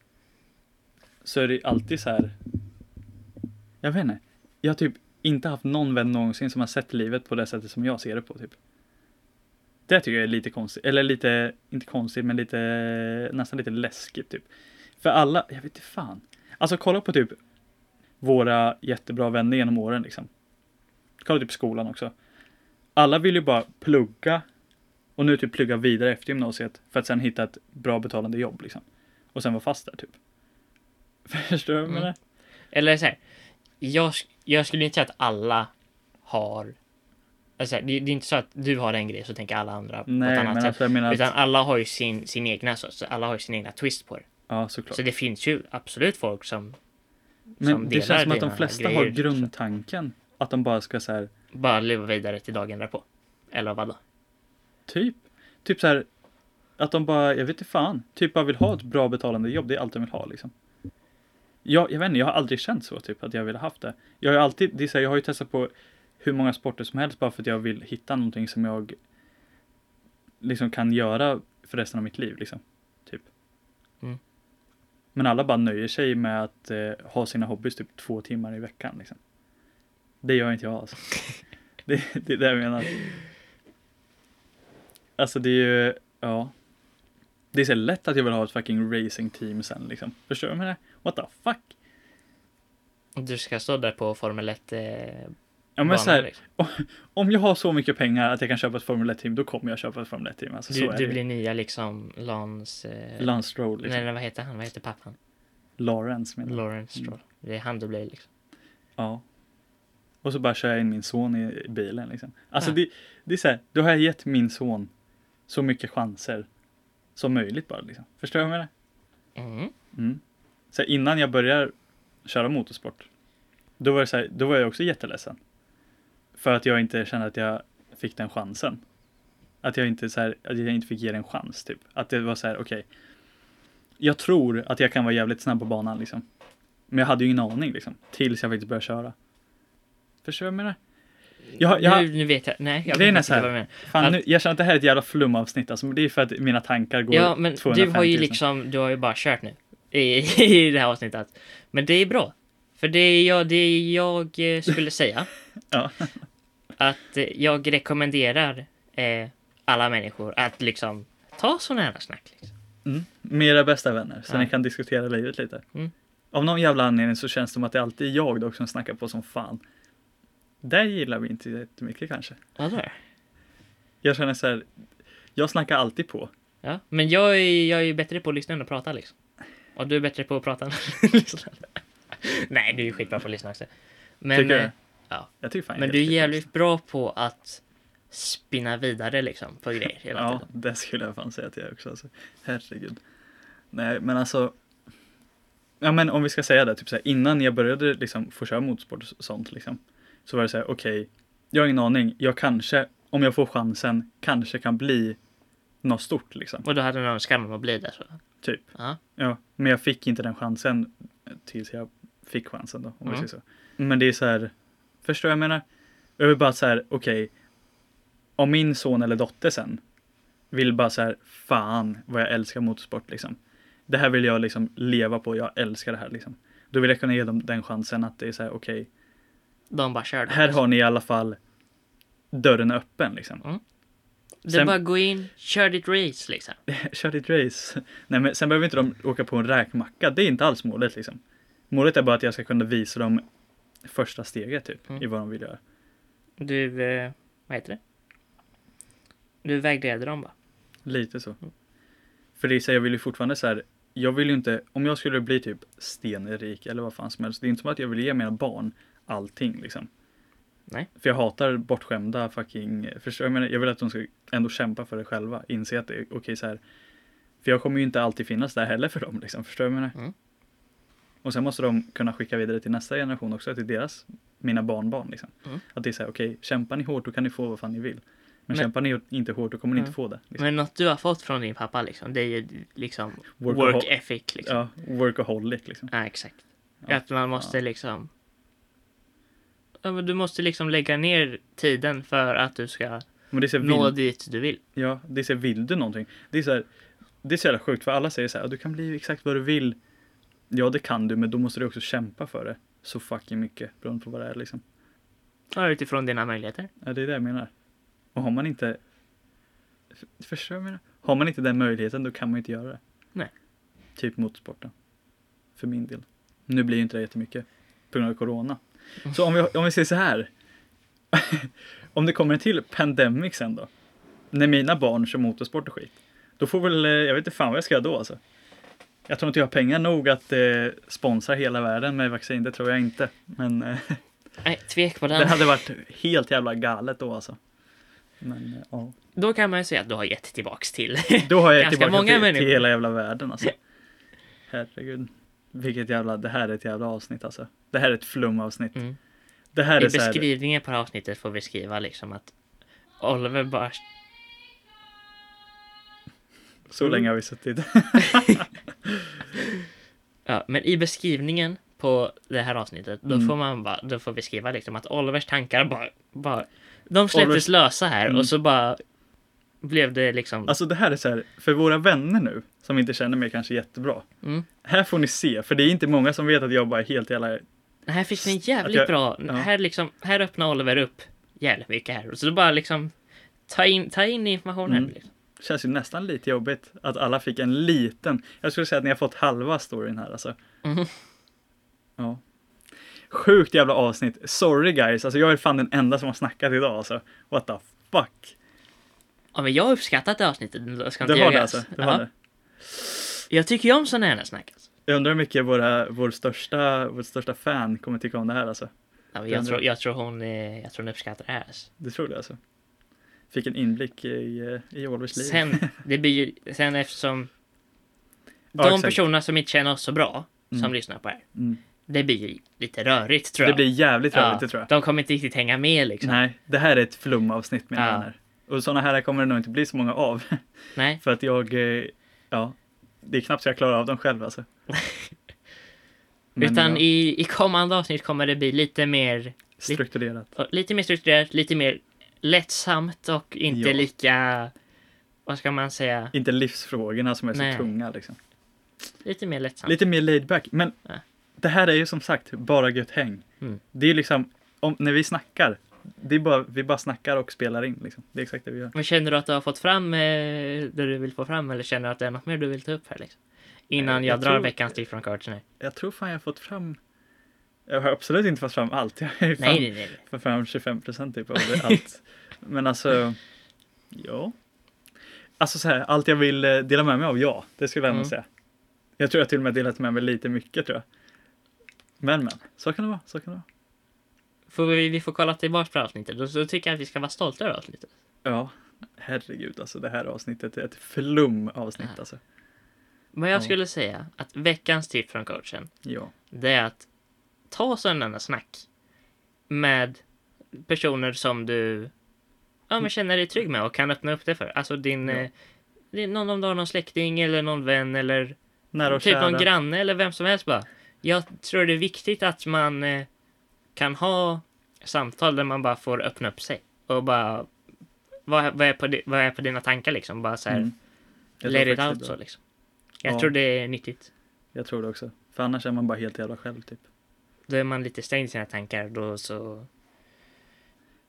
S1: Så är det alltid så här. Jag vet inte. Jag har typ inte haft någon vän någonsin som har sett livet på det sättet som jag ser det på typ. Det tycker jag är lite konstigt, eller lite, inte konstigt men lite, nästan lite läskigt typ. För alla, jag vet inte fan. Alltså kolla på typ våra jättebra vänner genom åren liksom. Kolla typ skolan också. Alla vill ju bara plugga och nu typ plugga vidare efter gymnasiet för att sen hitta ett bra betalande jobb liksom. Och sen vara fast där typ. Förstår du vad jag
S2: Mm.
S1: menar?
S2: Eller så här, jag, sk- jag skulle inte säga att alla har... Alltså, det, det är inte så att du har en grej så tänker alla andra på
S1: Nej,
S2: ett annat
S1: men
S2: sätt.
S1: alltså jag menar att,
S2: Utan alla har ju sin, sin egna så, så alla har ju sin egna twist på det.
S1: ja såklart.
S2: Så det finns ju absolut folk som som
S1: Men det
S2: delar
S1: känns som att de
S2: dina
S1: flesta
S2: grejer,
S1: har
S2: liksom.
S1: grundtanken att de bara ska så här,
S2: bara lever vidare till dagen därpå. Eller vadå?
S1: typ, typ så här, att de bara, jag vet inte fan, typ bara vill ha ett bra betalande jobb, det är allt de vill ha liksom. Jag, jag vet inte, jag har aldrig känt så typ att jag vill ha haft det. Jag har ju alltid, det är så här, jag har ju testat på hur många sporter som helst bara för att jag vill hitta någonting som jag liksom kan göra för resten av mitt liv liksom. Typ.
S2: Mm.
S1: Men alla bara nöjer sig med att eh, ha sina hobbys typ två timmar i veckan liksom. Det gör inte jag alltså. det, det är det jag menar. Alltså det är ju, ja. Det är så lätt att jag vill ha ett fucking racing team sen liksom. Förstår du vad jag menar? What the fuck?
S2: Du ska stå där på Formel 1 eh,
S1: Ja men
S2: banan,
S1: så här,
S2: liksom.
S1: om jag har så mycket pengar att jag kan köpa ett Formel 1-team, då kommer jag köpa ett Formel 1-team. Alltså, så
S2: du,
S1: är
S2: du
S1: det
S2: blir nya liksom Lance... Eh,
S1: ju. Lance Stroll, liksom. Mm.
S2: Nej, vad heter han? Vad heter pappan?
S1: Lawrence menar jag.
S2: Lawrence Stroll. Det är han du blir liksom.
S1: Ja. Och så bara kör jag in min son i bilen liksom. Alltså
S2: Ja.
S1: det, det är så här, då har jag gett min son så mycket chanser som möjligt bara liksom. Förstår du vad jag menar?
S2: Mm.
S1: Mm. Så här, innan jag började köra motorsport, då var, det så här, då var jag också jätteledsen. För att jag inte kände att jag fick den chansen. Att jag inte, så här, att jag inte fick ge den en chans. Typ. Att det var så här, okej. jag tror att jag kan vara jävligt snabb på banan liksom. Men jag hade ju ingen aning liksom. Tills jag faktiskt började köra. Förstår du vad jag menar? Jag, jag,
S2: Nu, nu vet jag. Nej, jag
S1: Grejen är
S2: vet
S1: så
S2: inte
S1: här,
S2: vad du menar.
S1: fan, nu, jag känner att det här är ett jävla flumavsnitt alltså, men det är för att mina tankar går
S2: Ja, men du
S1: 250
S2: har ju
S1: 000.
S2: liksom, du har ju bara kört nu i, i det här avsnittet. Men det är bra. För det jag, det jag eh, skulle säga,
S1: Ja.
S2: att eh, jag rekommenderar eh, alla människor att liksom ta sådana här snack. Liksom.
S1: Mm. Med era bästa vänner, så
S2: Ja.
S1: ni kan diskutera livet lite.
S2: Mm.
S1: Av någon jävla anledning så känns det som att det alltid är jag dock som snackar på som fan. Där gillar vi inte jättemycket kanske.
S2: Vadå?
S1: Jag känner så här, jag snackar alltid på.
S2: Ja, men jag är, jag är ju bättre på att lyssna än att prata liksom. Och du är bättre på att prata än att lyssna. Nej, du är ju skitbra på att lyssna också. Men,
S1: Tycker du?
S2: eh, ja.
S1: Jag tycker fan
S2: men
S1: jag
S2: du är
S1: tycker-
S2: jävligt bra på att spinna vidare liksom på grejer hela
S1: Ja,
S2: tiden.
S1: det skulle jag fan säga till er också. Alltså. Herregud. Nej, men alltså. Ja, men om vi ska säga det, typ så här, innan jag började liksom få köra motorsport och sånt liksom. Så var det så här, okej, jag har ingen aning. Jag kanske, om jag får chansen, kanske kan bli något stort liksom.
S2: Och då hade du en önskan om att bli det. Så.
S1: Typ.
S2: Ja.
S1: Ja, men jag fick inte den chansen tills jag fick chansen då, om vi
S2: Mm.
S1: säger så. Men det är så här, förstår jag vad jag menar? Jag vill bara så här, okej, om min son eller dotter sen vill bara så här, fan vad jag älskar motorsport liksom. Det här vill jag liksom leva på, jag älskar det här liksom. Då vill jag kunna ge dem den chansen att det är så här, okej,
S2: De bara körde.
S1: här har ni i alla fall dörren öppen liksom.
S2: Du
S1: sen-
S2: bara gå in, kör ditt race liksom.
S1: Kör ditt race. Nej, men sen behöver inte de åka på en räkmacka. Det är inte alls målet liksom. Målet är bara att jag ska kunna visa dem första steget typ
S2: Mm.
S1: i vad de vill göra.
S2: Du, eh, vad heter det? Du vägleder dem bara.
S1: Lite så. För det är så här, jag vill ju fortfarande så här. Jag vill ju inte, om jag skulle bli typ stenrik eller vad fan som helst. Det är inte som att jag vill ge mina barn allting liksom.
S2: Nej.
S1: För jag hatar bortskämda fucking, förstår du? vad Jag, menar? jag vill att de ska ändå kämpa för det själva. Inse att det är okej så här. För jag kommer ju inte alltid finnas där heller för dem liksom. Förstår du? vad jag menar?
S2: Mm.
S1: Och sen måste de kunna skicka vidare till nästa generation också, till deras, mina barnbarn liksom.
S2: Mm.
S1: Att det är så här, okej, kämpar ni hårt då kan ni få vad fan ni vill. Men,
S2: Men-
S1: kämpar ni inte hårt då kommer ni inte
S2: Mm.
S1: få det. Liksom.
S2: Men något du har fått från din pappa liksom, det är ju liksom work,
S1: Workaho-
S2: ethic liksom.
S1: Ja, workaholic liksom.
S2: Ja, exakt.
S1: Ja,
S2: Att man måste liksom... Ja, men du måste liksom lägga ner tiden för att du ska
S1: Men det är så här,
S2: nå
S1: vill,
S2: dit du vill.
S1: ja, det är så här, vill du någonting? Det är så här, det är så jävla sjukt för alla säger så här, du kan bli exakt vad du vill. Ja, det kan du, men då måste du också kämpa för det. Så fucking mycket, beroende på vad det är liksom.
S2: Ja, utifrån dina möjligheter.
S1: Ja, det är det jag menar. Och har man inte, f- förstår du vad jag menar? Har man inte den möjligheten, då kan man ju inte göra det.
S2: Nej.
S1: Typ motorsporten. För min del. Nu blir ju inte det jättemycket på grund av corona. Så om vi, om vi säger så här. om det kommer en till pandemic sen då. När mina barn kör motorsport och skit. Då får väl, eh, jag vet inte fan vad jag ska göra då alltså. Jag tror inte jag har pengar nog att eh, sponsra hela världen med vaccin, det tror jag inte. Men eh,
S2: Nej, tvek på den.
S1: det hade varit helt jävla galet då alltså. Men eh, ja.
S2: Då kan man ju säga att du har gett tillbaks till...
S1: Då har jag
S2: Ganska
S1: tillbaka
S2: många
S1: till,
S2: människor.
S1: till hela jävla världen alltså. Herregud. Vilket jävla, det här är ett jävla avsnitt alltså. Det här är ett flumavsnitt.
S2: Mm.
S1: Det här
S2: I
S1: är så här,
S2: beskrivningen på det här avsnittet får vi skriva liksom att Oliver bara...
S1: så länge har vi suttit.
S2: Ja, men i beskrivningen på det här avsnittet, då
S1: Mm.
S2: får man bara, då får vi skriva liksom att Olivers tankar bara, bara de
S1: Olivers-
S2: släpptes
S1: Mm.
S2: lösa här och så bara blev det liksom,
S1: Alltså det här är så här, för våra vänner nu, som inte känner mig kanske jättebra.
S2: Mm.
S1: Här får ni se, för det är inte många som vet att jag bara är helt jävla...
S2: här fick ni en jävligt
S1: att jag-
S2: bra,
S1: ja.
S2: här liksom, här öppnar Oliver upp jävligt mycket här. Och så då bara liksom, ta in, ta in informationen.
S1: Mm.
S2: Liksom.
S1: Känns ju nästan lite jobbigt att alla fick en liten. Jag skulle säga att ni har fått halva storyn här alltså.
S2: Mhm.
S1: Ja. Sjukt jävla avsnitt. Sorry guys, alltså jag är fan den enda som har snackat idag alltså. What the fuck.
S2: Ja men jag har uppskattat det avsnittet, jag ska inte
S1: Det var det
S2: ljuga.
S1: alltså. Det var
S2: ja.
S1: det.
S2: Jag tycker ju om sådana här snack. Alltså.
S1: Jag undrar hur mycket våra, vår, största, vårt största fan kommer tycka om det här alltså.
S2: Ja, men
S1: Det
S2: jag,
S1: undrar-
S2: tror, jag, tror hon, eh, jag tror hon uppskattar det här. Alltså.
S1: Det tror jag alltså. Fick en inblick i, eh, i Olvers liv.
S2: Sen, det blir ju, sen eftersom
S1: Ja,
S2: de
S1: exakt.
S2: personerna som inte känner oss så bra, som
S1: Mm.
S2: lyssnar på det här,
S1: Mm.
S2: det blir ju lite rörigt tror
S1: Det
S2: jag.
S1: blir jävligt
S2: Ja,
S1: roligt, det tror jag.
S2: De kommer inte riktigt hänga med liksom. Nej.
S1: Nej, det här är ett flumavsnitt mina
S2: Ja.
S1: vänner. Och sådana här kommer det nog inte bli så många av. För att jag, eh, ja, det är knappt så jag klarar av dem själv alltså. Men,
S2: Utan
S1: ja,
S2: i, i kommande avsnitt kommer det bli lite mer,
S1: strukturerat.
S2: lite mer strukturerat, lite mer lättsamt och inte
S1: Ja.
S2: lika, vad ska man säga,
S1: Inte livsfrågorna som är
S2: Nej.
S1: så tunga liksom.
S2: lite mer lättsamt.
S1: Lite mer laid back. Men
S2: Ja.
S1: det här är ju som sagt bara gött häng.
S2: Mm.
S1: Det är ju liksom, om, när vi snackar, det är bara, vi bara snackar och spelar in. Liksom. Det är exakt det vi gör.
S2: Men känner du att du har fått fram eh, det du vill få fram eller känner du att det är något mer du vill ta upp här liksom? Innan
S1: Eh,
S2: jag,
S1: jag
S2: drar
S1: tror-
S2: veckans tips från coachen. här.
S1: Jag tror fan jag har fått fram... Jag har absolut inte fått fram allt. Jag har ju fan
S2: Nej, nej, nej.
S1: fått fram 25 procent typ av det, allt. Men alltså, ja. Alltså så här, allt jag vill eh, dela med mig av, ja. Det skulle jag ändå
S2: Mm.
S1: säga. Jag tror jag till och med delat med mig lite mycket tror jag. Men men, så kan det vara. Så kan det vara.
S2: Får vi, vi får kolla tillbaka på avsnittet. Då, då tycker jag att vi ska vara stolta över avsnittet.
S1: Ja, herregud alltså det här avsnittet är ett flum avsnitt
S2: Ja.
S1: alltså.
S2: Men jag
S1: Ja.
S2: skulle säga att veckans tips från coachen,
S1: Ja,
S2: det är att ta sådana snack med personer som du ja, men känner dig trygg med och kan öppna upp det för. Alltså din,
S1: Ja.
S2: eh, din någon om du har någon släkting eller någon vän eller
S1: nära och
S2: typ
S1: kära.
S2: någon granne eller vem som helst bara. Jag tror det är viktigt att man eh, kan ha samtal där man bara får öppna upp sig och bara vad, vad, är, på di, vad är på dina tankar liksom? Bara så här,
S1: Mm. Jag tror
S2: let it
S1: faktiskt
S2: out
S1: det.
S2: så liksom. Jag
S1: Ja.
S2: tror det är nyttigt.
S1: Jag tror det också. För annars är man bara helt jävla själv typ.
S2: Då är man lite stängd i sina tankar då så.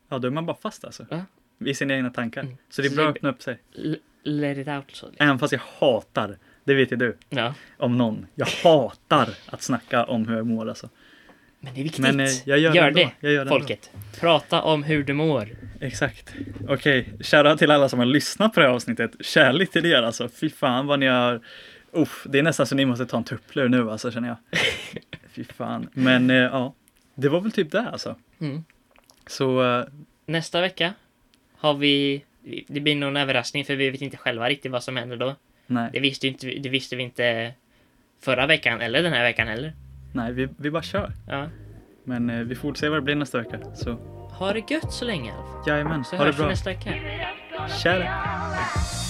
S1: Ja, då är man bara fast alltså.
S2: Ja.
S1: I sina egna tankar.
S2: Mm.
S1: Så det är
S2: Så
S1: bra
S2: det-
S1: att öppna upp sig.
S2: L- let it out så. Liksom.
S1: Även fast jag hatar, det vet ju du,
S2: Ja,
S1: om någon. Jag hatar att snacka om hur jag mår alltså.
S2: men det är viktigt.
S1: Men eh, jag gör,
S2: Gör
S1: det, ändå.
S2: det,
S1: jag gör det ändå.
S2: Folket, prata om hur du mår.
S1: Exakt. Okej, shoutout till alla som har lyssnat på det här avsnittet. Kärlek till er alltså. Fy fan vad ni har... Uff, det är nästan så ni måste ta en tupplur nu alltså känner jag. Fy fan. Men eh, ja, det var väl typ det alltså.
S2: Mm.
S1: Så eh,
S2: Nästa vecka har vi, det blir nog en överraskning för vi vet inte själva riktigt vad som händer då. Det
S1: nej,
S2: visste, ju inte, det visste vi inte förra veckan eller den här veckan heller.
S1: nej vi, vi bara kör.
S2: Ja.
S1: Men eh, vi får se vad det blir nästa vecka. Så
S2: Ha det gött så länge i alla fall.
S1: jajamän,
S2: Så
S1: ha det
S2: hörs vi
S1: bra.
S2: nästa vecka.
S1: Tja då.
S3: Shout out.